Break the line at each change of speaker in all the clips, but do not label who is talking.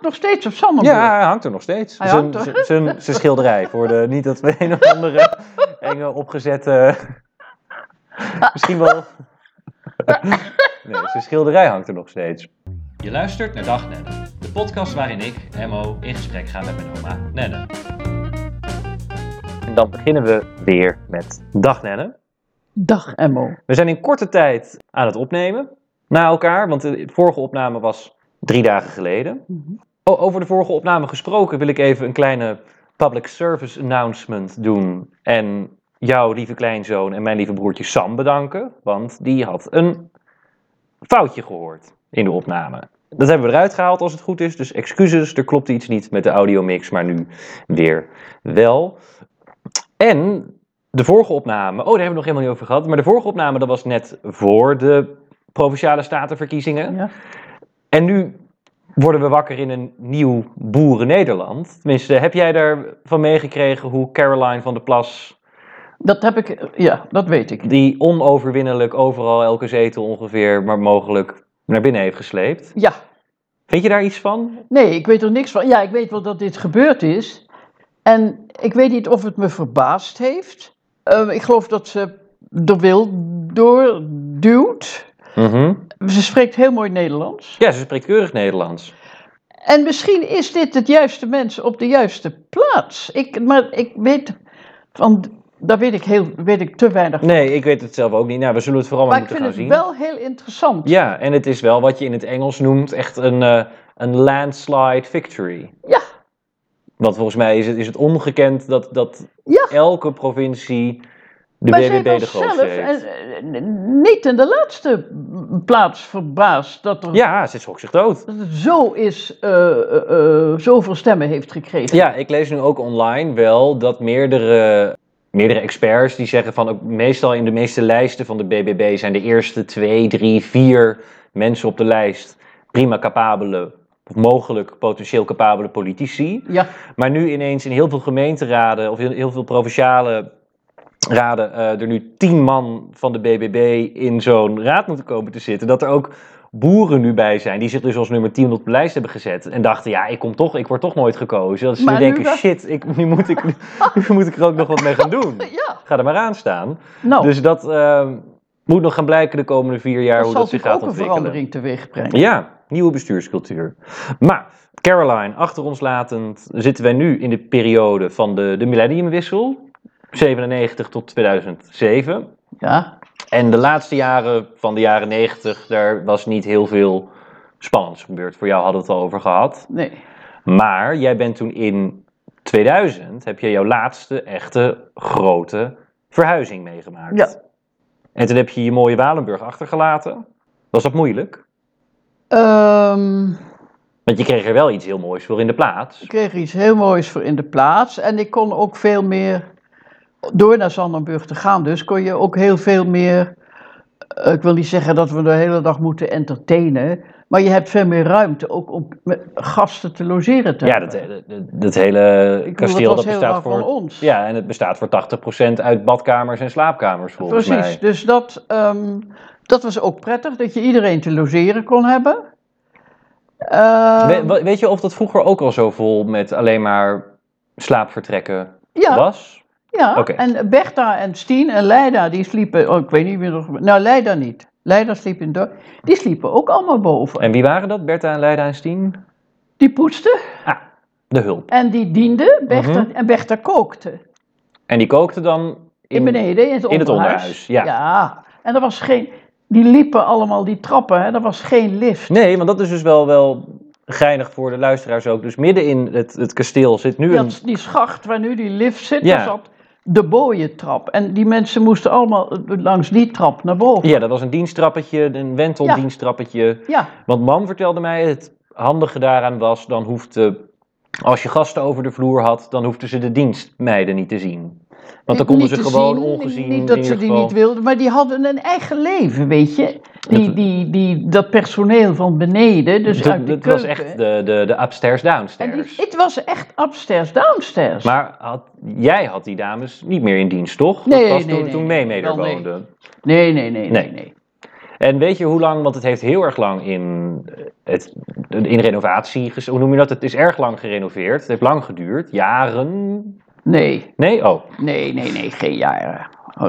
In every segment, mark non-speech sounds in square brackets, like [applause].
nog steeds op Sanderburg.
Ja, hij hangt er nog steeds.
Hij
Zijn
hangt er.
zijn- zijn- zijn schilderij. Voor de, niet dat we een of
[laughs]
andere enge opgezette... [laughs] Misschien wel... Nee, zijn schilderij hangt er nog steeds.
Je luistert naar Dag Nenne, de podcast waarin ik, Emmo, in gesprek ga met mijn oma Nenne.
En dan beginnen we weer met Dag Nenne.
Dag Emmo.
We zijn in korte tijd aan het opnemen. Na elkaar, want de vorige opname was drie dagen geleden. O- Over de vorige opname gesproken wil ik even een kleine public service announcement doen. En jouw lieve kleinzoon en mijn lieve broertje Sam bedanken. Want die had een foutje gehoord in de opname. Dat hebben we eruit gehaald als het goed is. Dus excuses, er klopt iets niet met de audiomix, maar nu weer wel. En de vorige opname, oh daar hebben we nog helemaal niet over gehad. Maar de vorige opname, dat was net voor de Provinciale Statenverkiezingen.
Ja.
En nu worden we wakker in een nieuw boeren-Nederland. Tenminste, heb jij daarvan meegekregen hoe Caroline van der Plas,
Dat heb ik, ja, dat weet ik.
die onoverwinnelijk overal elke zetel ongeveer, maar mogelijk naar binnen heeft gesleept?
Ja,
Vind je daar iets van?
nee, ik weet er niks van. Ja, ik weet wel dat dit gebeurd is. En ik weet niet of het me verbaasd heeft. Eh, ik geloof dat ze de wil doorduwt. Ze spreekt heel mooi Nederlands.
Ja, ze spreekt keurig Nederlands.
En misschien is dit het juiste mens op de juiste plaats. Ik, maar ik weet, van, daar weet ik, heel, weet ik te weinig van.
Nee, ik weet het zelf ook niet. Nou, we zullen het vooral maar,
Maar ik vind
moeten
het
gaan zien.
wel heel interessant.
Ja, en het is wel wat je in het Engels noemt echt een, eh, een landslide victory.
Ja.
Want volgens mij is het, is het ongekend dat, dat
Ja.
elke provincie de
maar zij
BBB de
was zelf
grootste heeft.
eh, eh, niet in de laatste plaats verbaasd dat er
Ja, ze schrok zich dood.
dat het zo is, eh, eh, eh, zoveel stemmen heeft gekregen.
Ja, ik lees nu ook online wel dat meerdere, meerdere experts die zeggen van ook meestal in de meeste lijsten van de BBB zijn de eerste twee, drie, vier mensen op de lijst prima capabele, of mogelijk potentieel capabele politici.
Ja,
Maar nu ineens in heel veel gemeenteraden of in heel veel provinciale raden eh, er nu tien man van de BBB in zo'n raad moeten komen te zitten. Dat er ook boeren nu bij zijn die zich dus als nummer 10 op de lijst hebben gezet. En dachten, ja, ik, kom toch, ik word toch nooit gekozen. Dat ze nu
Maar nu
denken,
dat-
shit, ik, nu, moet ik, nu moet ik er ook nog wat mee gaan doen.
[laughs] ja.
Ga er maar aan staan.
nou,
Dus dat eh, moet nog gaan blijken de komende vier jaar
dat
hoe
zal
dat zich
natuurlijk
gaat
ook een
ontwikkelen.
verandering teweeg brengen.
Ja, nieuwe bestuurscultuur. Maar Caroline, achter ons latend, zitten wij nu in de periode van de, de millenniumwissel. 97 tot 2007.
Ja.
En de laatste jaren van de jaren 90, daar was niet heel veel spannends gebeurd. Voor jou hadden we het al over gehad.
nee.
Maar jij bent toen in 2000, heb je jouw laatste echte grote verhuizing meegemaakt.
Ja.
En toen heb je je mooie Walenburg achtergelaten. Was dat moeilijk?
Ehm,
Want je kreeg er wel iets heel moois voor in de plaats.
ik kreeg er iets heel moois voor in de plaats. En ik kon ook veel meer, door naar Zandenburg te gaan dus, kon je ook heel veel meer... eh, Ik wil niet zeggen dat we de hele dag moeten entertainen, maar je hebt veel meer ruimte ook om met gasten te logeren. Te
Ja,
hebben.
dat, dat- dat- dat hele
Ik bedoel,
kasteel
het was
dat
heel
bestaat
lang
voor.
van ons.
Ja, en het bestaat voor 80% uit badkamers en slaapkamers volgens
Precies,
mij.
dus dat, ehm, dat was ook prettig, dat je iedereen te logeren kon hebben. Ehm,
We- we- weet je of dat vroeger ook al zo vol met alleen maar slaapvertrekken
ja,
was?
ja.
oké.
en Bertha en Stien en Leida, die sliepen, oh, ik weet niet meer nog, nou Leida niet. Leida sliep in dorp, die sliepen ook allemaal boven.
En wie waren dat? Bertha en Leida en Stien?
Die poetsten
De hulp.
en die dienden, Bertha,
Mhm.
en Bertha kookte.
En die kookte dan
In, beneden, in het onderhuis.
in het onderhuis, ja.
en er was geen, die liepen allemaal die trappen, hè. er was geen lift.
Nee, want dat is dus wel, wel geinig voor de luisteraars ook. Dus midden in het, het kasteel zit nu een
Dat, die schacht waar nu die lift zit,
Ja.
daar zat de booientrap. En die mensen moesten allemaal eh, langs die trap naar boven.
Ja, dat was een diensttrappetje, een wenteldiensttrappetje.
Ja,
Want mam vertelde mij, het handige daaraan was, dan hoefde, als je gasten over de vloer had, dan hoefden ze de dienstmeiden niet te zien. Want
Niet-
dan konden
niet
ze
te
gewoon
zien,
ongezien
Niet
in
dat ze
ieder
die
geval-
niet wilden, maar die hadden een eigen leven, weet je. Die,
Dat-
die, die, dat personeel van beneden, dus
Dat-
uit de
dat
keuken.
was echt de, de, de upstairs
En die-
downstairs.
het was echt upstairs, downstairs.
Maar had, jij had die dames niet meer in dienst, toch?
Nee,
dat was
nee,
toen,
nee,
toen
nee,
mee mee
wel
daar
nee.
woonde.
nee, nee, nee, nee,
Nee.
nee.
En weet je hoe lang, want het heeft heel erg lang in, eh, het, in renovatie, ges- hoe noem je dat? Het is erg lang gerenoveerd. Het heeft lang geduurd, jaren.
Nee,
Nee? Oh.
nee, nee, nee, geen jaren.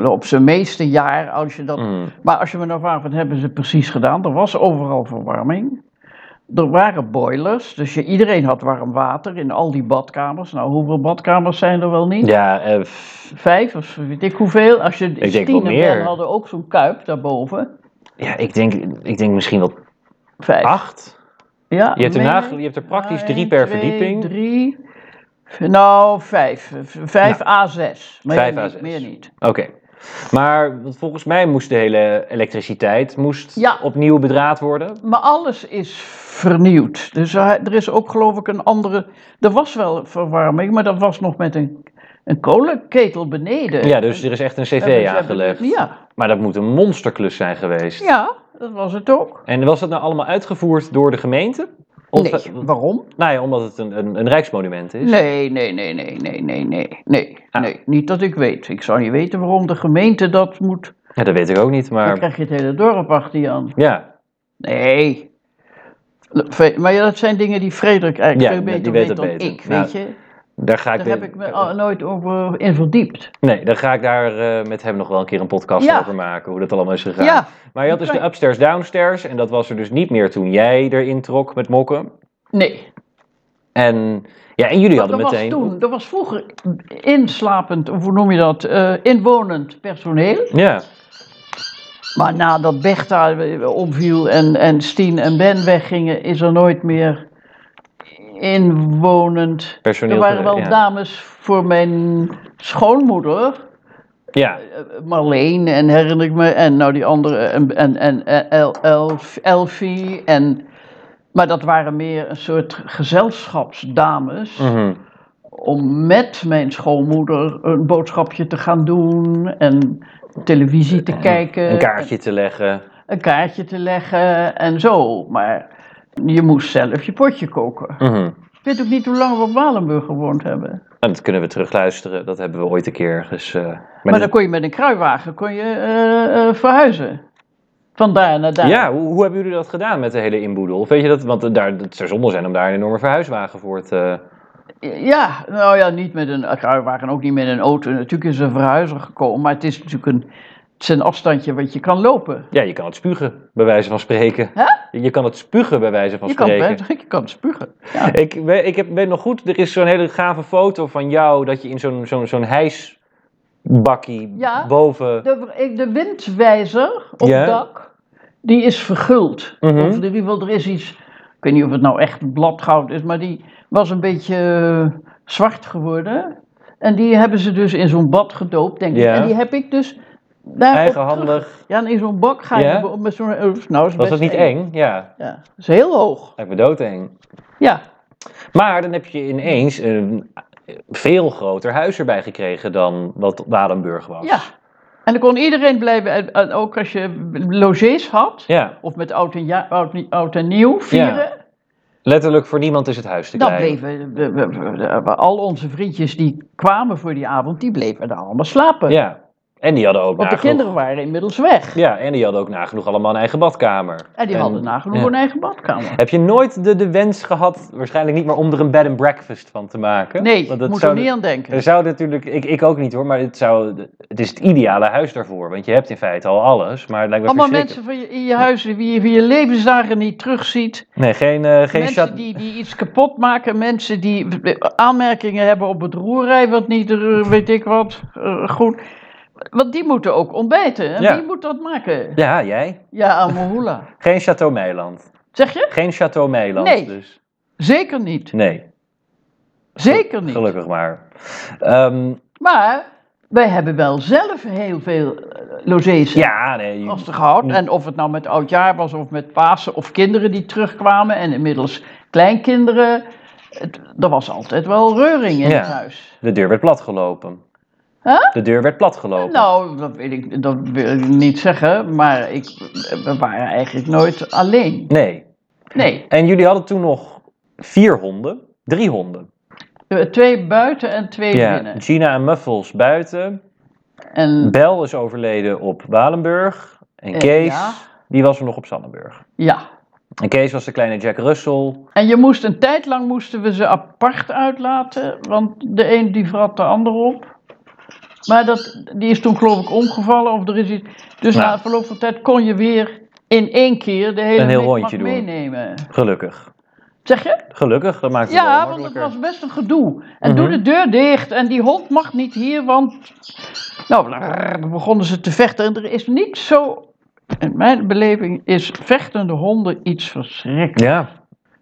Op zijn meeste jaar, als je dat
Mm.
Maar als je me nou vraagt, wat hebben ze precies gedaan? Er was overal verwarming. Er waren boilers, dus je, iedereen had warm water in al die badkamers. Nou, hoeveel badkamers zijn er wel niet?
Ja, eh, f-
Vijf of weet ik hoeveel. Als je
denk wel
Stienem
meer.
hadden ook zo'n kuip daarboven.
ja ik, denk, ik denk misschien wel
Vijf.
acht.
Ja,
Je hebt er,
meer.
nage- je hebt er praktisch drie
Eén,
per
twee,
verdieping.
Drie. Nou, vijf. Vijf A6. Maar
Vijf
meer niet,
A6.
Meer niet.
Oké. Maar want volgens mij moest de hele elektriciteit moest
Ja.
opnieuw bedraad worden.
Maar alles is vernieuwd. Dus hij- er is ook geloof ik een andere. Er was wel verwarming, maar dat was nog met een, een kolenketel beneden.
Ja, dus er is echt een
En dus
cv
hebben-
aangelegd.
Ja.
Maar dat moet een monsterklus zijn geweest.
ja, dat was het ook.
En was dat nou allemaal uitgevoerd door de gemeente? Of,
nee, waarom?
Nou ja, omdat het een, een, een rijksmonument is.
Dus- Nee, nee, nee, nee, nee, nee, nee, nee,
Ah.
nee. Niet dat ik weet. Ik zou niet weten waarom de gemeente dat moet.
Ja, dat weet ik ook niet,
Dan
maar
krijg je het hele dorp achter je aan.
ja.
Nee. Maar ja, dat zijn dingen die Frederik eigenlijk
Ja,
veel beter
die weet
weet,
het
dan
beter.
ik,
Nou,
weet je.
Daar, ga ik
Daar heb ik me al- nooit over in verdiept.
Nee, daar ga ik daar eh, met hem nog wel een keer een podcast
Ja.
over maken, hoe dat allemaal is gegaan.
Ja,
maar je had dus
oké.
de upstairs downstairs en dat was er dus niet meer toen jij erin trok met mokken.
nee.
En, ja, en jullie
Want
hadden
er was
meteen...
toen, er was vroeger inslapend, of hoe noem je dat, eh, inwonend personeel.
Ja,
Maar nadat Bechta eh, omviel en, en Stien en Ben weggingen, is er nooit meer inwonend.
personeel.
Er waren wel
ja.
dames voor mijn schoonmoeder,
Ja,
eh, Marleen en herinner ik me, en nou die andere, en, en, en, en El- Elf- Elfie. En, maar dat waren meer een soort gezelschapsdames.
mhm.
om met mijn schoonmoeder een boodschapje te gaan doen en televisie te kijken,
Eh, een kaartje te leggen.
een kaartje te leggen en zo. Maar je moest zelf je potje koken.
Mhm.
Ik weet ook niet hoe lang we op Walenburg gewoond hebben. Maar,
En dat kunnen we terugluisteren, dat hebben we ooit een keer ergens... eh, met een-
dan kon je met een kruiwagen kon je, eh, eh, verhuizen. Van daar naar daar.
Ja, hoe, hoe hebben jullie dat gedaan met de hele inboedel? Of weet je dat, want eh, daar, het zou zonde zijn om daar een enorme verhuiswagen voor te...
Ja, nou ja, niet met een kruiwagen, ook niet met een auto. Natuurlijk is er een verhuizer gekomen, maar het is natuurlijk een, het is een afstandje wat je kan lopen.
Ja, je kan het spugen, bij wijze van spreken.
Hè?
Je kan het spugen, bij wijze van
Je kan,
spreken.
buiten- je kan spugen. Ja.
ik we- ik heb, weet nog goed, er is zo'n hele gave foto van jou dat je in zo'n zo'n zo'n hijsbakkie
Ja.
boven...
De, ik- de windwijzer op
Ja.
dak, die is verguld.
Mhm.
Of in ieder geval, er is iets, ik weet niet of het nou echt bladgoud is, maar die was een beetje eh, zwart geworden. En die hebben ze dus in zo'n bad gedoopt, denk
Ja.
ik. En die heb ik dus daar
Eigenhandig.
Ja, en in zo'n bak ga je
Ja.
op- met zo'n... Nou, is
Was
best
dat niet eng? Ja,
Ja, dat is heel hoog.
lijkt me doodeng.
Ja,
Maar dan heb je ineens een veel groter huis erbij gekregen dan wat Walenburg was.
ja. En dan kon iedereen blijven, en- en ook als je logees had,
Ja,
of met oud en, ja, oud, oud en nieuw vieren...
letterlijk voor niemand is het huis te
Dan
klein.
bleven we- we- we- we- al onze vriendjes die kwamen voor die avond, die bleven daar allemaal slapen.
Ja, en die hadden ook
Want de
nagenoeg...
kinderen waren inmiddels weg.
Ja, en die hadden ook nagenoeg allemaal een eigen badkamer.
En die hadden nagenoeg
ja.
een eigen badkamer.
Heb je nooit de, de wens gehad, waarschijnlijk niet, maar om er een bed and breakfast van te maken?
Nee,
Want dat
moet
zou
er niet aan denken.
Er zou natuurlijk, ik, ik ook niet hoor, maar het, zou, het is het ideale huis daarvoor. Want je hebt in feite al alles, maar het lijkt me
Allemaal
verschrikkelijk.
mensen van je, in je huis die je, die je levensdagen niet terugziet.
Nee, geen, eh, geen
mensen
chat-
die, die iets kapot maken. Mensen die aanmerkingen hebben op het roerrij, wat niet, eh, weet ik wat, eh, goed. Want die moeten ook ontbijten. En
Ja.
wie moet dat maken?
Ja, jij.
Ja, Amohula.
Geen Chateau Meiland.
Zeg je?
Geen Chateau Meiland,
Nee.
dus.
Zeker niet.
Nee,
Zeker niet.
gelukkig maar. Ehm,
Maar wij hebben wel zelf heel veel eh, logés
ja, nee.
als gehouden. En of het nou met oudjaar was of met Pasen of kinderen die terugkwamen en inmiddels kleinkinderen. Het, er was altijd wel reuring in
Ja.
het huis.
De deur werd platgelopen.
Huh?
De deur werd platgelopen.
Nou, dat wil, ik, dat wil ik niet zeggen, maar ik, we waren eigenlijk nooit alleen.
Nee.
Nee,
En jullie hadden toen nog vier honden, drie honden.
eh, twee buiten en twee
Ja,
binnen.
Gina en Muffles buiten.
En
Bel is overleden op Walenburg. En
Eh,
Kees
ja.
Die was er nog op Sandenburg.
Ja.
En Kees was de kleine Jack Russell.
En je moest een tijd lang moesten we ze apart uitlaten, want de een die vrat de ander op. Maar dat, die is toen geloof ik omgevallen of er is iets. Dus
Nou.
na verloop van tijd kon je weer in één keer de hele
Een heel
mikmak
rondje doen.
meenemen.
Gelukkig.
Zeg je?
Gelukkig, dat maakt het wel
Ja, want het
makkelijker.
was best een gedoe. En
Mhm.
doe de deur dicht en die hond mag niet hier, want. Nou, brrr, dan begonnen ze te vechten. En er is niks zo. In mijn beleving is vechtende honden iets verschrikkelijks.
Ja,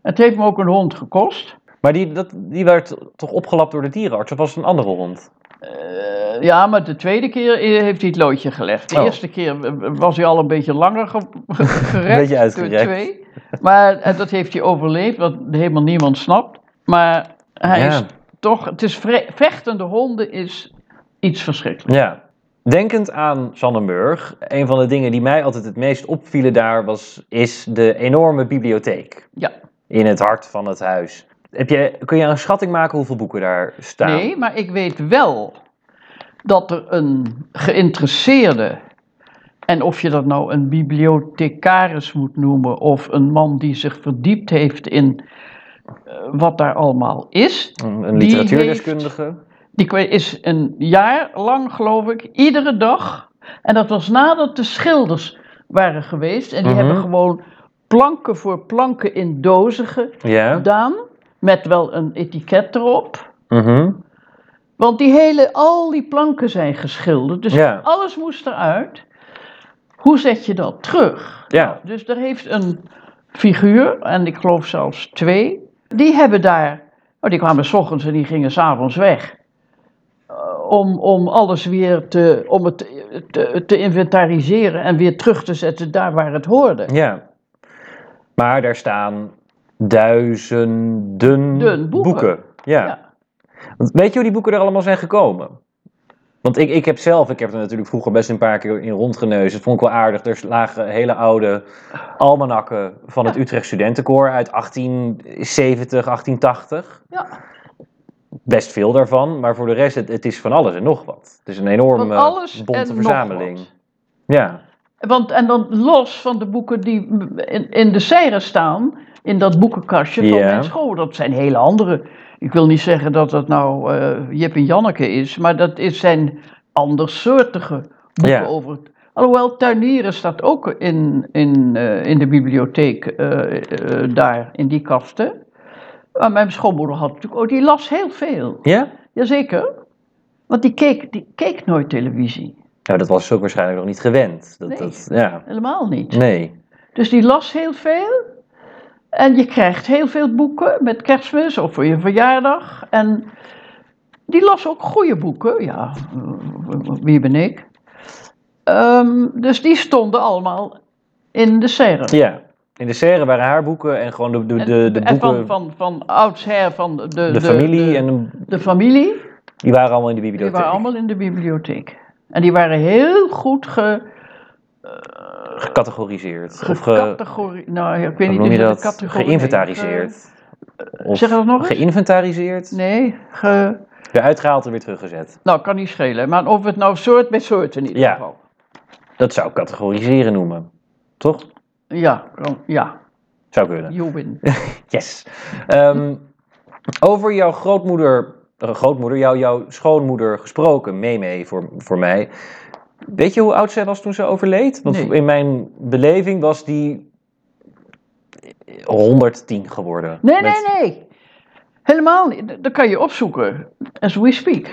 Het heeft me ook een hond gekost.
maar die, dat, die werd toch opgelapt door de dierenarts? Of was het een andere hond?
Eh, ja, maar de tweede keer eh, heeft hij het loodje gelegd. De
Oh.
eerste keer eh, was hij al een beetje langer ge [laughs] gerekt.
Beetje uitgerekt.
door Twee. Maar eh, dat heeft hij overleefd, wat helemaal niemand snapt. Maar hij
Ja.
is toch... Het is vre- vechtende honden is iets verschrikkelijks.
Ja. Denkend aan Sandenburg, een van de dingen die mij altijd het meest opvielen daar was, is de enorme bibliotheek
Ja.
in het hart van het huis. Heb je, kun je een schatting maken hoeveel boeken daar staan?
Nee, maar ik weet wel dat er een geïnteresseerde... En of je dat nou een bibliothecaris moet noemen... of een man die zich verdiept heeft in... eh, Wat daar allemaal is,
Een, een
Die
literatuurdeskundige?
Die kwe- is een jaar lang, geloof ik, iedere dag. En dat was nadat de schilders waren geweest. En die
Mhm.
hebben gewoon planken voor planken in dozen
Ja.
gedaan. Met wel een etiket erop.
Mhm.
Want die hele, al die planken zijn geschilderd. Dus
Ja.
alles moest eruit. Hoe zet je dat terug?
ja.
Dus er heeft een figuur, en ik geloof zelfs twee, die hebben daar. Oh, die kwamen s ochtends en die gingen s'avonds weg. Eh, om, om alles weer te, om het te, te inventariseren en weer terug te zetten daar waar het hoorde.
Ja. Maar daar staan duizenden
Dun boeken.
Ja.
Ja.
Want weet je hoe die boeken er allemaal zijn gekomen? Want ik, ik heb zelf, ik heb er natuurlijk vroeger best een paar keer in rondgeneuzen. Het vond ik wel aardig. Er lagen hele oude almanakken van het Utrecht Studentenkoor uit 1870, 1880.
Ja.
Best veel daarvan, maar voor de rest, het, het is van alles en nog wat. Het is een enorme
Van alles
bonte
en nog
verzameling.
wat.
Ja.
Want, en dan los van de boeken die in, in de serre staan, in dat boekenkastje van
Ja.
mijn school. Dat zijn hele andere. Ik wil niet zeggen dat dat nou eh, Jip en Janneke is, maar dat is zijn andersoortige boeken
Ja.
over het. Alhoewel, Tuinieren staat ook in, in, eh, in de bibliotheek eh, eh, daar, in die kasten. Maar mijn schoonmoeder had natuurlijk ook, die las heel veel.
Ja?
Jazeker. Want die keek, die keek nooit televisie.
Nou, dat was ze ook waarschijnlijk nog niet gewend. Dat,
Nee.
dat, ja.
Helemaal niet.
Nee.
Dus die las heel veel. En je krijgt heel veel boeken met kerstmis of voor je verjaardag. En die las ook goede boeken. Ja, eh, wie ben ik? Ehm, dus die stonden allemaal in de serre.
Ja. In de serre waren haar boeken en gewoon de, de,
En-
de, de
en
boeken,
van, van, van oudsher van de,
de, familie,
de-
en de-
de familie.
die waren allemaal in de
Die
bibliotheek.
waren allemaal in de bibliotheek. En die waren heel goed ge,
gecategoriseerd. of ge,
gecategoriseerd. nou, ik weet
hoe
niet
noem je
is het een
dat?
categorie? eh,
Geïnventariseerd. Of
Zeg dat nog eens?
geïnventariseerd,
Eh, nee, ge...
eruit gehaald en weer teruggezet.
Nou, kan niet schelen. Maar of het nou soort bij soort in ieder
Ja.
geval.
Dat zou ik categoriseren noemen. Toch?
Ja, kan- ja,
Zou kunnen.
you win.
Yes. Ehm, over jouw grootmoeder, eh, grootmoeder jou, jouw schoonmoeder gesproken, Meme voor, voor mij. Weet je hoe oud zij was toen ze overleed? Want
Nee.
in mijn beleving was die 110 geworden.
Nee,
Met-
nee, nee. Helemaal niet. Dat kan je opzoeken. As we speak.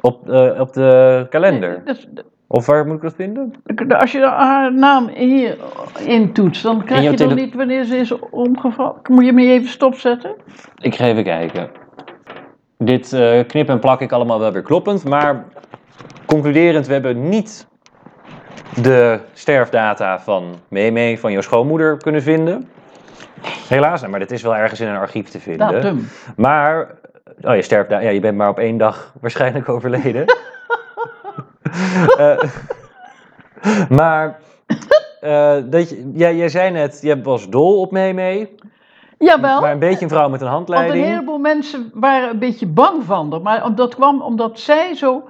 Op, eh, op de kalender.
Dat- dat-
Of waar moet ik dat vinden?
als je haar naam hier intoetst, dan krijg
jouw
je dan
tele-
niet wanneer ze is omgevallen. Moet je hem niet even stopzetten?
Ik ga even kijken. Dit eh, knip en plak ik allemaal wel weer kloppend, maar concluderend, we hebben niet de sterfdata van Meme, van jouw schoonmoeder, kunnen vinden. Helaas, nou, maar dat is wel ergens in een archief te vinden.
Datum.
Maar, oh, je sterft daar. Ja, je bent maar op één dag [laughs] waarschijnlijk overleden. Eh, maar, eh, dat je, jij, jij zei net, je was dol op Meme.
Jawel.
Maar een beetje een vrouw met een
Want een
handleiding.
heleboel mensen waren een beetje bang van haar. Maar om- dat kwam omdat zij zo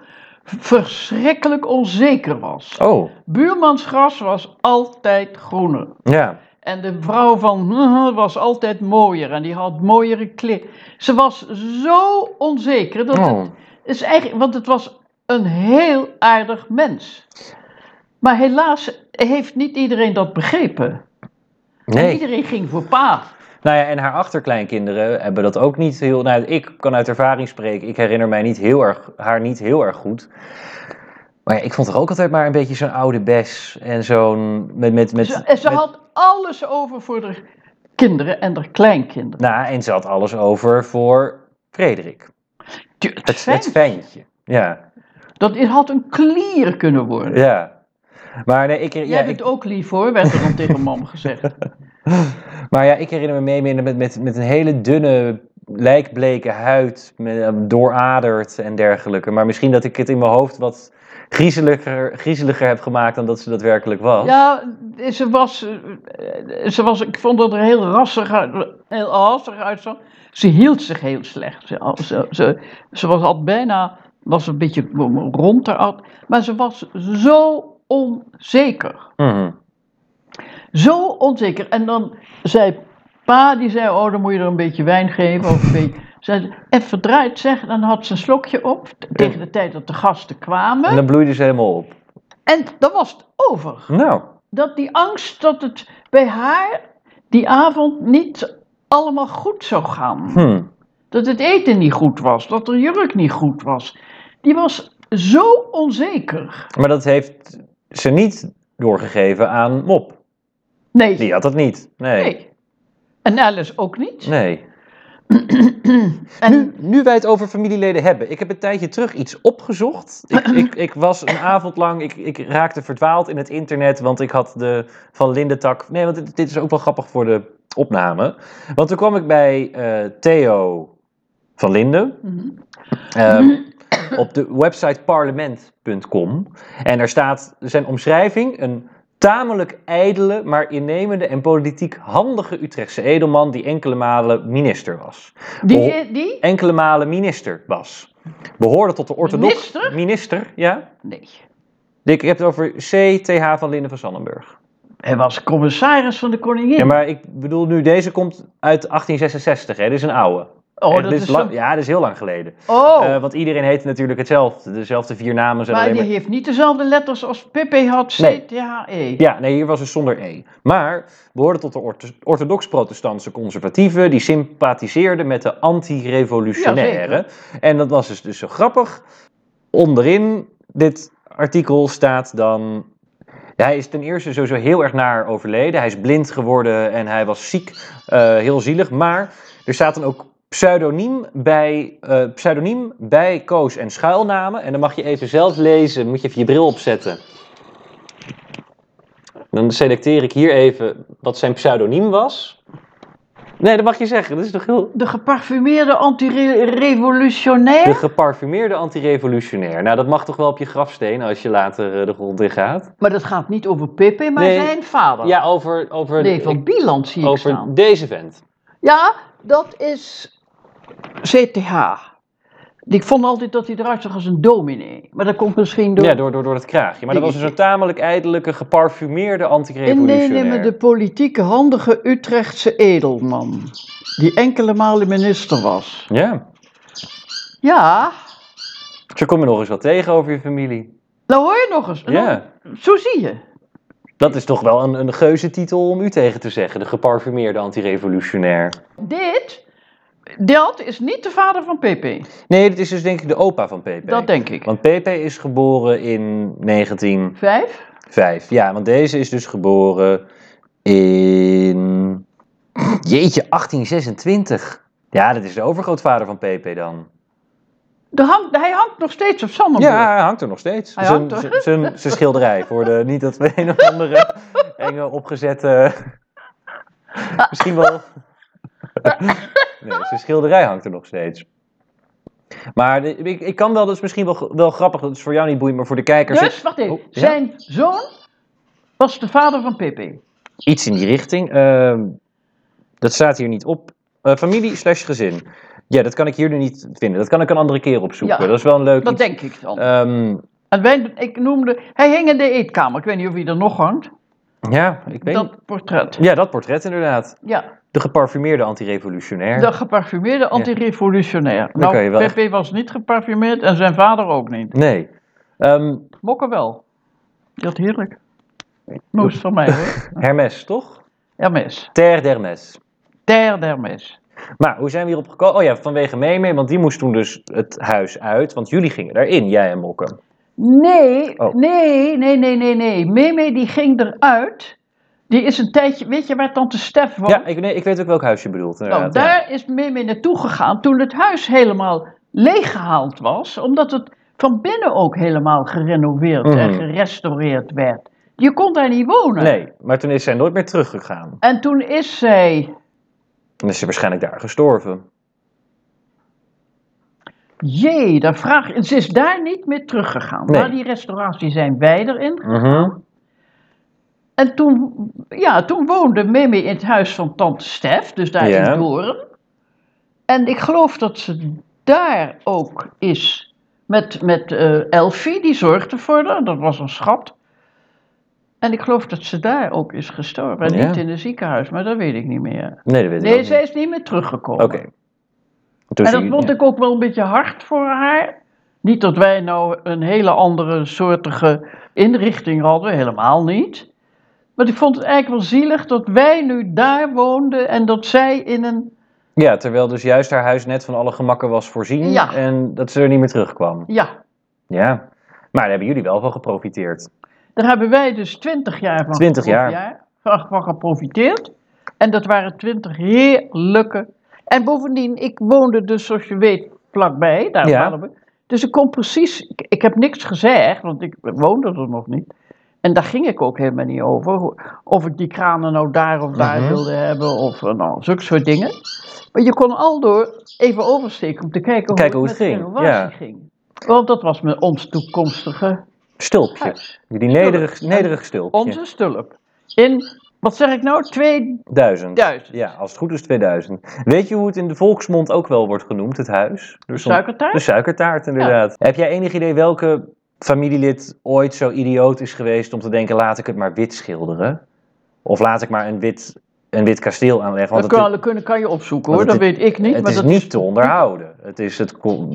verschrikkelijk onzeker was.
Oh,
Buurmansgras was altijd groener.
ja.
En de vrouw van was altijd mooier en die had mooiere kleren. Ze was zo onzeker dat het
Oh.
is eigenlijk, want het was een heel aardig mens. Maar helaas heeft niet iedereen dat begrepen.
Nee.
Iedereen ging voor pa.
Nou ja, en haar achterkleinkinderen hebben dat ook niet heel... Nou, ik kan uit ervaring spreken. Ik herinner mij niet heel erg, haar niet heel erg goed. Maar ja, ik vond haar ook altijd maar een beetje zo'n oude bes. En zo'n... Met, met, met,
Ze, en ze
met-
had alles over voor de kinderen en de kleinkinderen.
Nou, en ze had alles over voor Frederik.
Tu-
Het,
feit,
het ventje. Ja,
Dat is- had een klier kunnen worden.
ja. Maar, nee, ik, ja,
Jij
ik,
bent ook lief hoor, werd er dan tegen mam gezegd.
maar ja, ik herinner me mee met, met, met een hele dunne, lijkbleke huid, met, eh, dooraderd en dergelijke. Maar misschien dat ik het in mijn hoofd wat griezeliger, griezeliger heb gemaakt dan dat ze daadwerkelijk was.
Ja, ze was, eh, ze was, ik vond dat er heel rassig, uit- heel rassig uitzag. Ze hield zich heel slecht. Ze, ze, ze, ze was al bijna, was een beetje rond eruit. Maar ze was zo onzeker.
Mhm.
Zo onzeker. En dan zei pa, die zei, oh dan moet je er een beetje wijn geven. Of een beetje, zei, en verdraaid zeg, dan had ze een slokje op. t- Tegen de tijd dat de gasten
En
kwamen.
dan bloeide ze helemaal op.
En dan was het over
Nou,
dat die angst dat het bij haar die avond niet allemaal goed zou gaan.
hm.
Dat het eten niet goed was, dat de jurk niet goed was. Die was zo onzeker.
maar dat heeft ze niet doorgegeven aan Mop.
Nee,
Die had dat niet. Nee.
nee. En Alice ook niet.
Nee.
En
Nu, nu wij het over familieleden hebben. Ik heb een tijdje terug iets opgezocht.
[clears throat]
Ik, ik, ik was een avond lang, ik, ik raakte verdwaald in het internet, want ik had de Van Lindentak... Nee, want dit, dit is ook wel grappig voor de opname. Want toen kwam ik bij eh, Theo van Linden
Mhm.
ehm, op de website parlement.com. En daar staat zijn omschrijving, een tamelijk ijdele, maar innemende en politiek handige Utrechtse edelman die enkele malen minister was Oh.
die, die?
enkele malen minister was. Behoorde tot de orthodox...
Minister?
Minister, ja.
Nee.
Ik heb het over C.T.H. van Linden van
Hm.
Sannenburg.
Hij was commissaris van de koningin.
Ja, maar ik bedoel nu, deze komt uit 1866, hè. Dit is een oude.
oh,
Eh,
dat
dit
is
lang-
zo-
Ja, dat is heel lang geleden.
Oh,
Eh, want iedereen heet natuurlijk hetzelfde. Dezelfde vier namen zijn
maar die
alleen maar...
heeft niet dezelfde letters als Pepe had,
Nee.
CTHE.
Ja, nee, hier was het zonder E. Maar behoorde tot de ortho- orthodox-protestantse conservatieven. Die sympathiseerden met de anti-revolutionaire. en dat was dus, dus zo grappig. Onderin dit artikel staat dan. Hij is ten eerste sowieso heel erg naar overleden. Hij is blind geworden en hij was ziek. eh, heel zielig. Maar er staat dan ook pseudoniem bij, eh, pseudoniem bij koos en schuilnamen. En dan mag je even zelf lezen. Moet je even je bril opzetten. Dan selecteer ik hier even wat zijn pseudoniem was. Nee, dat mag je zeggen. Dat is toch heel...
De geparfumeerde antirevolutionair.
De geparfumeerde antirevolutionair. Nou, dat mag toch wel op je grafsteen als je later eh, de grond in gaat.
Maar dat gaat niet over Pepe, maar
Nee.
zijn vader.
Ja, over, over, e-
nee, van Bieland zie ik
over
staan.
deze vent.
Ja, dat is CTH. Ik vond altijd dat hij eruit zag als een dominee. Maar dat komt misschien door...
Ja, door, door, door het kraagje. Maar dat was dus een tamelijk ijdelijke, geparfumeerde
Innemende de
antirevolutionair.
politieke handige Utrechtse edelman. Die enkele malen minister was.
Ja,
Ja,
zo kom je nog eens wat tegen over je familie.
nou hoor je nog eens. Nou,
Ja,
Zo zie je.
dat is toch wel een, een geuze titel om u tegen te zeggen. De geparfumeerde antirevolutionair.
Dit, dat is niet de vader van Pepe.
Nee, dat is dus denk ik de opa van PP.
Dat denk ik.
Want PP is geboren in 19...
Vijf?
Vijf, ja, want deze is dus geboren in. Jeetje, 1826. Ja, dat is de overgrootvader van PP dan.
De hang- hij hangt nog steeds op Sandenburg.
Ja, hij hangt er nog steeds.
Hij
Zijn
hangt er.
zijn- zijn- zijn schilderij voor de. Niet dat we een of
[laughs]
andere enge opgezette. Misschien wel. Nee, zijn schilderij hangt er nog steeds. Maar de- ik, ik kan wel, dat is misschien wel, wel grappig, dat is voor jou niet boeiend, maar voor de kijkers.
Dus, wacht even.
Oh, ja.
Zijn zoon was de vader van Pepe.
Iets in die richting. Ehm, dat staat hier niet op. Eh, familie slash gezin. Ja, dat kan ik hier nu niet vinden. Dat kan ik een andere keer opzoeken.
Ja.
Dat is wel een leuk
Dat
iets.
denk ik dan.
Ehm,
en wij, ik noemde, hij hing in de eetkamer. Ik weet niet of hij er nog hangt.
ja, ik weet niet.
Dat portret.
Ja, dat portret inderdaad.
Ja,
De geparfumeerde antirevolutionair.
de geparfumeerde antirevolutionair. Nou,
kan je wel
Pepe was niet geparfumeerd en zijn vader ook niet.
Nee. Ehm,
Mokker wel. Dat heerlijk. Moest van mij
[laughs]
hoor.
Hermes, toch?
Hermes.
Ter d'Hermes.
Ter d'Hermes.
Maar hoe zijn we hierop gekomen? Oh ja, vanwege Meme, want die moest toen dus het huis uit. Want jullie gingen daarin, jij en Mokke.
Nee,
Oh.
nee, nee, nee, nee, nee. Meme die ging eruit. Die is een tijdje, weet je waar tante Stef woont?
Ja, ik, nee, ik weet ook welk huis je bedoelt.
Nou,
Inderdaad. ja.
daar is Mimi naartoe gegaan toen het huis helemaal leeggehaald was, omdat het van binnen ook helemaal gerenoveerd en
Mhm.
gerestaureerd werd. Je kon daar niet wonen.
Nee, maar toen is zij nooit meer teruggegaan.
En toen is zij,
Dan is ze waarschijnlijk daar gestorven.
jee, daar vraag ze is daar niet meer teruggegaan.
Nee.
Na die restauratie zijn wij erin.
Mhm.
En toen, ja, toen woonde Mimi in het huis van tante Stef, dus daar
Ja.
in Doorn. En ik geloof dat ze daar ook is met, met eh, Elfie, die zorgde voor haar, dat was een schat. En ik geloof dat ze daar ook is gestorven. En
Ja.
niet in het ziekenhuis, maar dat weet ik niet meer.
Nee, dat weet ik ook
Nee,
niet.
zij is niet meer teruggekomen.
Oké. Toen
En
zie
dat
je-
vond ik ook wel een beetje hard voor haar. Niet dat wij nou een hele andere soortige inrichting hadden, helemaal niet. Maar ik vond het eigenlijk wel zielig dat wij nu daar woonden en dat zij in een.
Ja, terwijl dus juist haar huis net van alle gemakken was voorzien.
Ja.
En dat ze er niet meer terugkwam.
Ja,
Ja. Maar daar hebben jullie wel van geprofiteerd.
daar hebben wij dus twintig jaar van,
20 jaar.
geprof- van, van geprofiteerd. En dat waren twintig heerlijke. En bovendien, ik woonde dus, zoals je weet, vlakbij. Daar
Ja.
waren we. Dus ik kon precies. Ik, ik heb niks gezegd, want ik woonde er nog niet. En daar ging ik ook helemaal niet over. ho- Of ik die kranen nou daar of daar
Mhm.
wilde hebben. Of eh, nou, zulke soort dingen. Maar je kon al door even oversteken om te kijken,
Kijken hoe het
met de
ging,
renovatie
ja.
ging. Want dat was mijn, ons toekomstige
Stulpje.
huis.
Die nederig, nederig stulpje.
Onze stulp. In, wat zeg ik nou, 2000.
Duizend. Ja, als het goed is 2000. Weet je hoe het in de volksmond ook wel wordt genoemd, het huis? Er stond-
Suikertaart?
De suikertaart, inderdaad. Heb jij enig idee welke familielid ooit zo idioot is geweest om te denken, laat ik het maar wit schilderen? Of laat ik maar een wit, een wit kasteel aanleggen?
dat
Want
kan,
het,
dat kunnen- kan je opzoeken
Want
hoor, dat
het
weet ik niet.
het
maar
is
dat,
niet te onderhouden. Het is het... ko-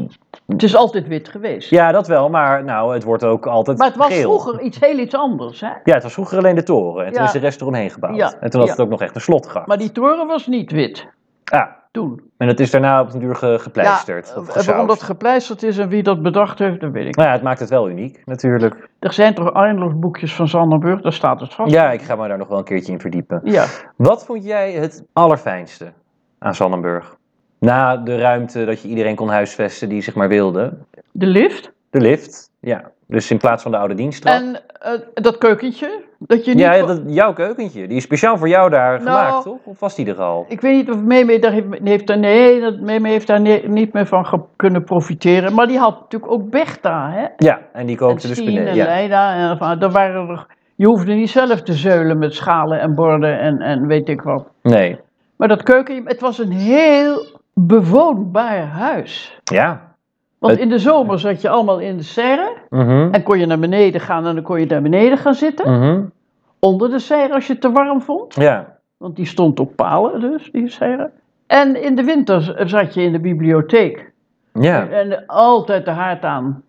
het is altijd wit geweest.
Ja, dat wel, maar nou, het wordt ook altijd
maar het was
geel.
vroeger iets heel iets anders. Hè?
Ja, het was vroeger alleen de toren. En toen
Ja.
is de rest eromheen gebouwd.
Ja,
En toen had
ja.
het ook nog echt een slotgracht.
Maar die toren was niet wit
Ja,
toen.
en dat is daarna op een duur ge- gepleisterd.
Ja, eh,
of
waarom
gesausd.
dat gepleisterd is en wie dat bedacht heeft, dat weet ik. niet.
Nou ja, het maakt het wel uniek, natuurlijk.
Er zijn toch eindeloos boekjes van Zandenburg, daar staat het vast.
Ja, ik ga me daar nog wel een keertje in verdiepen.
Ja.
Wat vond jij het allerfijnste aan Zannenburg? Na de ruimte dat je iedereen kon huisvesten die zeg maar wilde.
De lift
De lift, ja. Dus in plaats van de oude diensttrap.
en eh, dat keukentje. Dat je niet
Ja, ja,
kon-
dat, jouw keukentje. Die is speciaal voor jou
Nou,
daar gemaakt, toch? Of was die er al?
Ik weet niet of Meme daar heeft, heeft daar, nee, dat Meme heeft daar ne- niet meer van ge- kunnen profiteren. Maar die had natuurlijk ook Bertha, hè?
Ja, en die
En
kookte dus
Stien en
beneden. Ja.
Leida. En, van- daar waren er, je hoefde niet zelf te zeulen met schalen en borden en, en weet ik wat.
Nee.
Maar dat keuken, het was een heel bewoonbaar huis.
Ja.
Want
Het-
in de zomer zat je allemaal in de serre
Mhm.
en kon je naar beneden gaan en dan kon je daar beneden gaan zitten.
Mhm.
Onder de serre als je het te warm vond.
Ja.
Want die stond op palen dus, die serre. En in de winter z- zat je in de bibliotheek.
Ja.
En altijd de haard aan.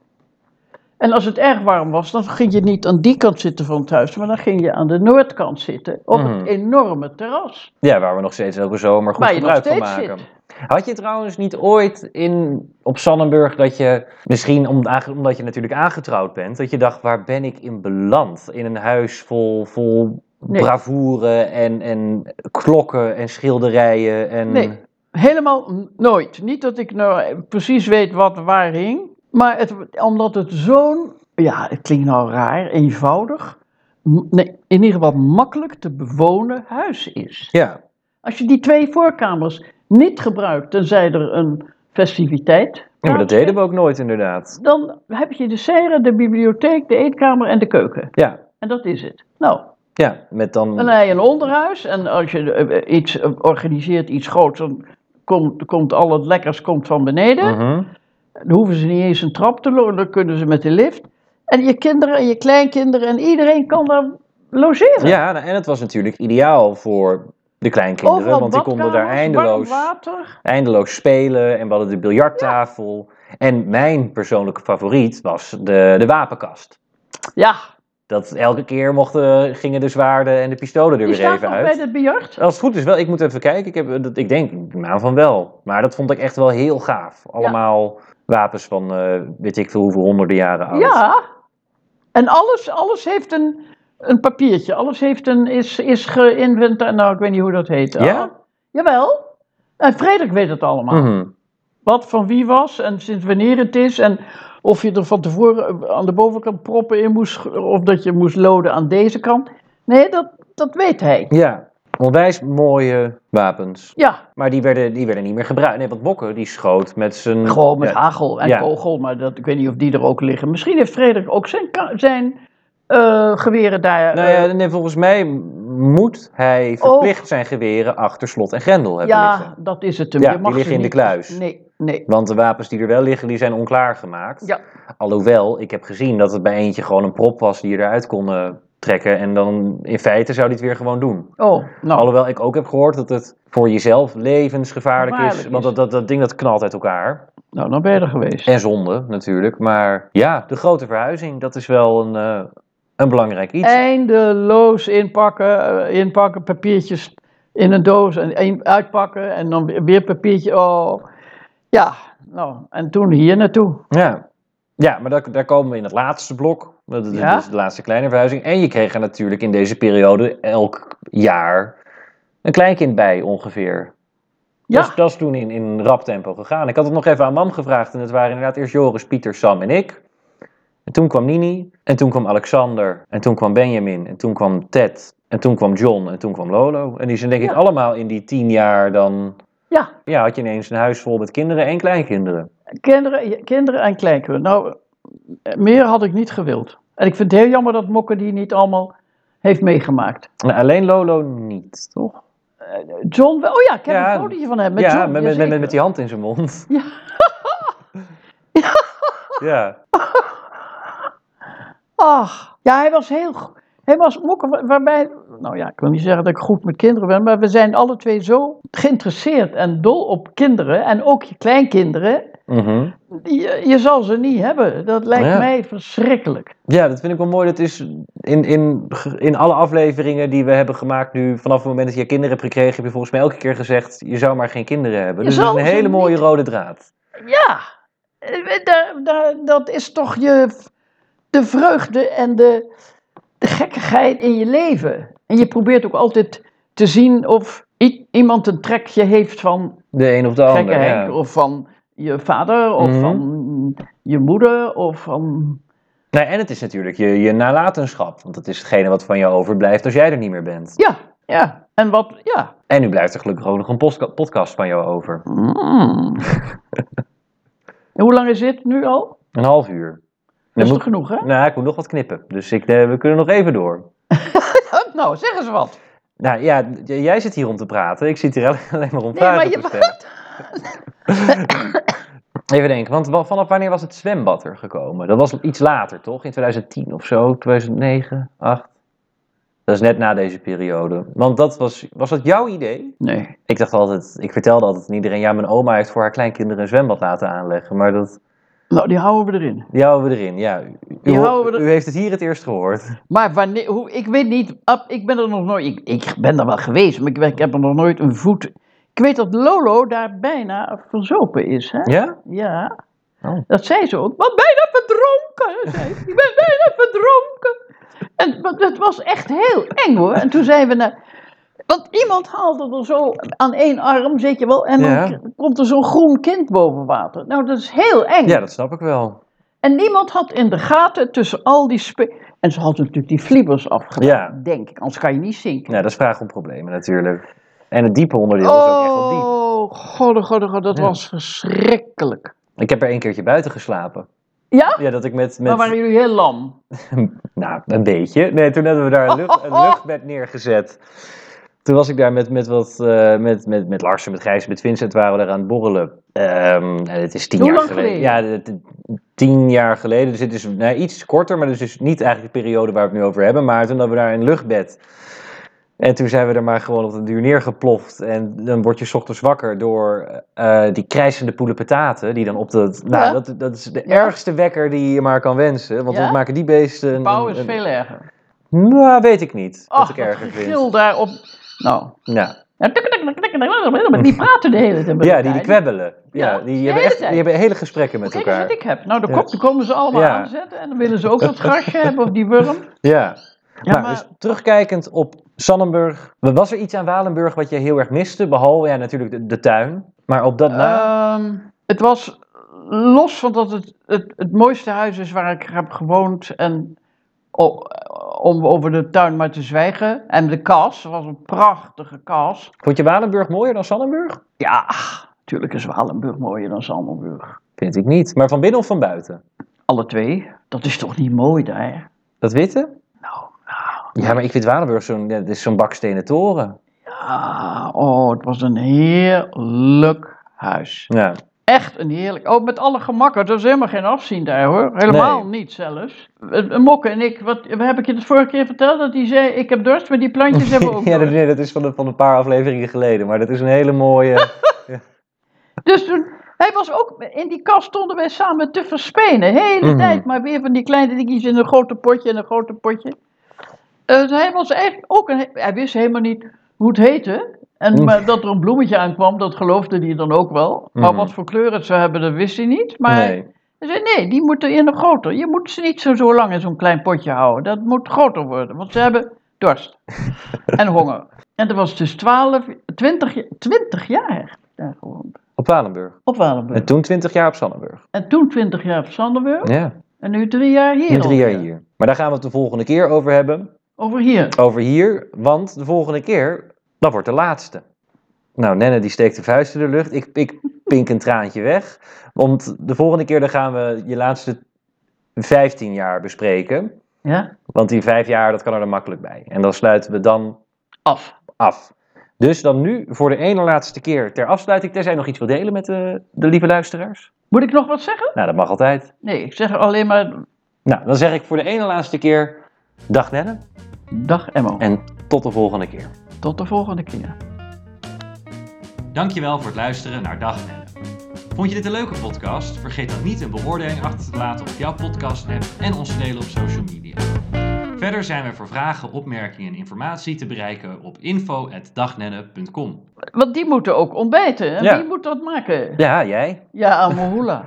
En als het erg warm was, dan ging je niet aan die kant zitten van het huis, maar dan ging je aan de noordkant zitten. Op
Mhm.
het enorme terras.
Ja, waar we nog steeds elke zomer goed
Waar je nog
gebruik van
steeds
maken.
zit.
Had je trouwens niet ooit in, op Sannenburg dat je, misschien om- aange- omdat je natuurlijk aangetrouwd bent, dat je dacht, waar ben ik in beland? In een huis vol, vol
Nee.
bravoure en, en klokken en schilderijen. En...
Nee. Helemaal n- nooit. Niet dat ik nou precies weet wat waar hing, maar het, omdat het zo'n, ja, het klinkt nou raar, eenvoudig, m- nee, in ieder geval makkelijk te bewonen huis is.
Ja,
Als je die twee voorkamers niet gebruikt, tenzij er een festiviteit.
Ja, maar dat deden we ook nooit inderdaad.
Dan heb je de serre, de bibliotheek, de eetkamer en de keuken.
Ja,
En dat is het. Nou,
ja met
dan
dan...
heb je een onderhuis. En als je eh, iets eh, organiseert, iets groots, dan komt, komt al het lekkers komt van beneden.
Mhm.
Dan hoeven ze niet eens een trap te lopen, dan kunnen ze met de lift. En je kinderen en je kleinkinderen en iedereen kan daar logeren.
Ja, nou, en het was natuurlijk ideaal voor de kleinkinderen,
Overal
want die konden daar
badkamers,
eindeloos,
warm water.
eindeloos spelen en we hadden de biljarttafel. En mijn persoonlijke favoriet was de, de wapenkast.
Ja,
Dat elke keer mochten, gingen de zwaarden en de pistolen er
die
weer
staat
even
nog
uit.
bij het biljart.
Als het goed is wel, ik moet even kijken. Ik, heb, eh, dat, ik denk ik naam van wel. Maar dat vond ik echt wel heel gaaf. Allemaal wapens van eh, weet ik veel hoeveel honderden jaren oud.
Ja, en alles, alles heeft een, een papiertje. Alles heeft een, is, is geïnventaar, nou ik weet niet hoe dat heet.
Ja?
Ah, jawel. En Frederik weet het allemaal.
Mhm.
Wat van wie was en sinds wanneer het is. En of je er van tevoren aan de bovenkant proppen in moest. Of dat je moest loden aan deze kant. Nee, dat, dat weet hij.
ja. Onwijs mooie wapens.
Ja,
Maar die werden, die werden niet meer gebruikt. Nee, want Bokke die schoot met zijn...
gewoon met
Ja.
hagel en
Ja.
kogel. Maar dat, ik weet niet of die er ook liggen. Misschien heeft Frederik ook zijn, ka- zijn eh, geweren daar.
Nou
eh, Oh.
ja, nee, volgens mij moet hij verplicht zijn geweren achter slot en grendel hebben
ja,
liggen.
dat is het hem.
Ja,
Je
die
mag ze
liggen in de
niet-
kluis.
Nee, nee.
Want de wapens die er wel liggen, die zijn onklaargemaakt.
Ja.
Alhoewel, ik heb gezien dat het bij eentje gewoon een prop was die je eruit kon eh, trekken. En dan in feite zou die het weer gewoon doen.
Oh, nou.
Alhoewel ik ook heb gehoord dat het voor jezelf levensgevaarlijk is.
Gevaarlijk is.
Want dat, dat, dat ding dat knalt uit elkaar.
nou, dan ben je er geweest.
En zonde natuurlijk. Maar ja, de grote verhuizing, dat is wel een, eh, een belangrijk iets.
Eindeloos inpakken, eh, inpakken, papiertjes in een doos en één uitpakken en dan weer- weer papiertje. Oh, ja, nou, en toen hier naartoe.
Ja, ja maar daar, daar komen we in het laatste blok. Dat is
Ja.
dus de laatste kleine verhuizing. En je kreeg er natuurlijk in deze periode elk jaar een kleinkind bij ongeveer.
Ja,
Dat, is, dat is toen in, in rap tempo gegaan. Ik had het nog even aan mam gevraagd. En het waren inderdaad eerst Joris, Pieter, Sam en ik. En toen kwam Nini. En toen kwam Alexander. En toen kwam Benjamin. En toen kwam Ted. En toen kwam John. En toen kwam Lolo. En die zijn denk ik
Ja.
allemaal in die tien jaar dan...
ja
Ja, had je ineens een huis vol met kinderen en kleinkinderen.
kinderen, kinderen en kleinkinderen. Nou, eh, meer had ik niet gewild. En ik vind het heel jammer dat Mokke die niet allemaal heeft meegemaakt.
Nou, alleen Lolo niet, toch?
John, wel- oh ja, ik heb
Ja,
een fotootje van hem. Met
ja,
John,
met, met, met,
jazeker.
met die hand in zijn mond.
[laughs] Ja.
[laughs] ja.
Ach, ja, hij was heel. go- Hij was mokken, wa- waarbij. Nou ja, ik wil niet zeggen dat ik goed met kinderen ben, maar we zijn alle twee zo geïnteresseerd en dol op kinderen en ook je kleinkinderen.
Mhm.
Je, je zal ze niet hebben. Dat lijkt
Ja.
mij verschrikkelijk.
ja, dat vind ik wel mooi. Dat is in, in, in alle afleveringen die we hebben gemaakt nu, vanaf het moment dat je kinderen hebt gekregen, heb je volgens mij elke keer gezegd, je zou maar geen kinderen hebben.
Je
dus dat
zou
is een
ze
hele mooie
niet-
rode draad.
Ja, eh, daar- daar- dat is toch je, de vreugde en de, de gekkigheid in je leven. En je probeert ook altijd te zien of i- iemand een trekje heeft van
De een of de
gekke
ander.
Henk,
Oh, Ja.
of van je vader, of
Mhm.
van je moeder, of van...
Nee, Nou, en het is natuurlijk je, je nalatenschap, want dat is hetgene wat van jou overblijft als jij er niet meer bent.
Ja, ja. En wat,
[laughs]
ja.
En nu blijft er gelukkig ook nog een postka- podcast van jou over.
Mm. en hoe lang is dit nu al?
Een half uur. En
Dat
Dan
is
moet,
toch genoeg, hè?
nou, ik moet nog wat knippen, dus ik, eh, we kunnen nog even door.
nou, zeg eens wat.
Nou ja, j- jij zit hier om te praten. Ik zit hier alleen- [laughs] alleen maar om
Nee, maar
vragen
je
te stellen. [coughs] Even denken, want wa- vanaf wanneer was het zwembad er gekomen? Dat was iets later, toch? In 2010 of zo? 2009, 8? Dat is net na deze periode. Want dat was, was dat jouw idee?
Nee.
Ik dacht altijd, ik vertelde altijd aan iedereen... Ja, mijn oma heeft voor haar kleinkinderen een zwembad laten aanleggen. Maar dat,
Nou, die houden we erin.
die houden we erin, ja. U, u,
Die
ho-
houden we er-
u heeft het hier het eerst gehoord.
Maar wanneer, hoe, ik weet niet, Ab, ik ben er nog nooit, ik, ik ben er wel geweest, maar ik, ben- ik heb er nog nooit een voet... Ik weet dat Lolo daar bijna verzopen is, hè?
Ja?
Ja.
Oh.
Dat zei ze ook. Maar bijna verdronken, zei ze. Ik ben bijna verdronken. En want het was echt heel eng hoor. En toen zijn we naar... Want iemand haalde er zo aan één arm, zit je wel, en
Ja.
dan k- komt er zo'n groen kind boven water. Nou, dat is heel eng.
Ja, dat snap ik wel.
En niemand had in de gaten tussen al die spe... En ze hadden natuurlijk die flippers afgedaan,
Ja.
denk ik. Anders kan je niet zinken.
Nou, dat is vraag om problemen natuurlijk. En het diepe onderdeel was ook echt wel diep.
Oh, god, god, god, dat
Ja.
was verschrikkelijk.
Ik heb er één keertje buiten geslapen.
Ja?
Ja, dat ik met... met
Maar waren jullie heel lam?
Mm,
[laughs]
Nou, een beetje. Nee, toen hebben we daar een, lucht, een luchtbed neergezet. Toen was ik daar met, met, wat, eh, met, met, met Larsen, met Gijs, met Vincent waren we daar aan het borrelen. Ehm, en het is tien
Hoe
jaar
lang
geleden.
geleden?
Ja, dit- dit- tien jaar geleden. Dus het is nou, iets korter, maar dus, is niet eigenlijk de periode waar we het nu over hebben. Maar toen hadden we daar een luchtbed. En toen zijn we er maar gewoon op de duur neergeploft. En dan word je 's ochtends wakker door eh, die krijsende poelepetaten. Die dan op de. Nou,
Ja.
dat, dat is de ergste wekker die je maar kan wensen. Want
Ja?
we maken die beesten. een-
Pauw is
een-
veel erger.
Nou, weet ik niet.
Ach,
wat ik
dat
erger vind.
gegil daarop. Nou.
Ja.
Ja, tik, tik, tik, tik, tik, tik, Die praten de hele tijd. met
Ja, die,
elkaar.
die kwebbelen. Ja,
Ja,
die,
de
hebben
hele
echt, die
tijd.
hebben hele gesprekken met
Kijk eens
elkaar.
wat ik heb. Nou, de
Ja.
kop, die komen ze allemaal
Ja.
aanzetten. En dan willen ze ook
[laughs]
dat grasje hebben of die worm.
Ja.
Ja,
maar,
maar-
dus terugkijkend op Sannenburg. Was er iets aan Walenburg wat je heel erg miste? Behalve ja, natuurlijk de, de tuin. Maar op dat na.
Ehm, het was los van dat het, het het mooiste huis is waar ik heb gewoond. En o- om over de tuin maar te zwijgen. En de kas, het was een prachtige kas.
Vond je Walenburg mooier dan Sannenburg?
Ja, ach, natuurlijk is Walenburg mooier dan Zandenburg.
Vind ik niet. Maar van binnen of van buiten?
Alle twee. Dat is toch niet mooi daar?
Dat witte?
Nou,
Ja, maar ik vind Walenburg zo'n ja, het is zo'n bakstenen toren.
ja. Oh, het was een heerlijk huis.
Ja.
Echt een heerlijk. Oh, met alle gemakken. Er was helemaal geen afzien daar hoor. Helemaal niet zelfs. Eh, eh, Mokke en ik, wat heb ik je de vorige keer verteld? Dat hij zei: Ik heb dorst, maar [laughs] die plantjes hebben ook.
[laughs] ja, dat,
dorst.
nee, dat is van, een- van een paar afleveringen geleden. Maar dat is een hele mooie.
Dus toen. Hij was ook. In die kast stonden wij samen te verspenen. De hele
Mhm.
tijd maar weer van die kleine dingetjes in een grote potje en een grote potje. Eh, hij was echt ook. Een, he- hij wist helemaal niet hoe het heette. En
Mhm.
maar dat er een bloemetje aankwam, dat geloofde hij dan ook wel. Maar
Mhm.
wat voor kleur het zou hebben, dat wist hij niet. [laughs] Maar
Nee.
Hij zei, nee, die moeten in een groter. Je moet ze niet zo, zo lang in zo'n klein potje houden. Dat moet groter worden, want ze hebben dorst
[laughs]
en honger. En dat was dus 12, 20, ja- 20 jaar daar gewoond.
Op Walenburg.
Op Walenburg.
En toen 20 jaar op Sannenburg.
En toen 20 jaar op Sanderburg.
Ja.
En nu drie jaar hier.
Nu drie jaar
alweer.
hier. Maar daar gaan we het de volgende keer over hebben.
Over hier.
Over hier, want de volgende keer, dat wordt de laatste. Nou, Nenne die steekt de vuist in de lucht. Ik, ik pink een traantje weg. Want de volgende keer dan gaan we je laatste 15 jaar bespreken.
Ja,
Want die vijf jaar, dat kan er dan makkelijk bij. En dan sluiten we dan
af.
af. Dus dan nu, voor de ene laatste keer ter afsluiting. Terzij nog iets wil delen met de, de lieve luisteraars.
Moet ik nog wat zeggen?
Nou, dat mag altijd.
Nee, ik zeg alleen maar
Nou, dan zeg ik voor de ene laatste keer dag Nenne.
dag Emmo.
En tot de volgende keer.
Tot de volgende keer.
Dankjewel voor het luisteren naar Dag Nenne. Vond je dit een leuke podcast? Vergeet dan niet een beoordeling achter te laten op jouw podcast-app en ons te delen op social media. Verder zijn we voor vragen, opmerkingen en informatie te bereiken op info.dagnenne.com.
Want die moeten ook ontbijten. En
Ja.
wie moet dat maken?
Ja, jij.
Ja, Amohula.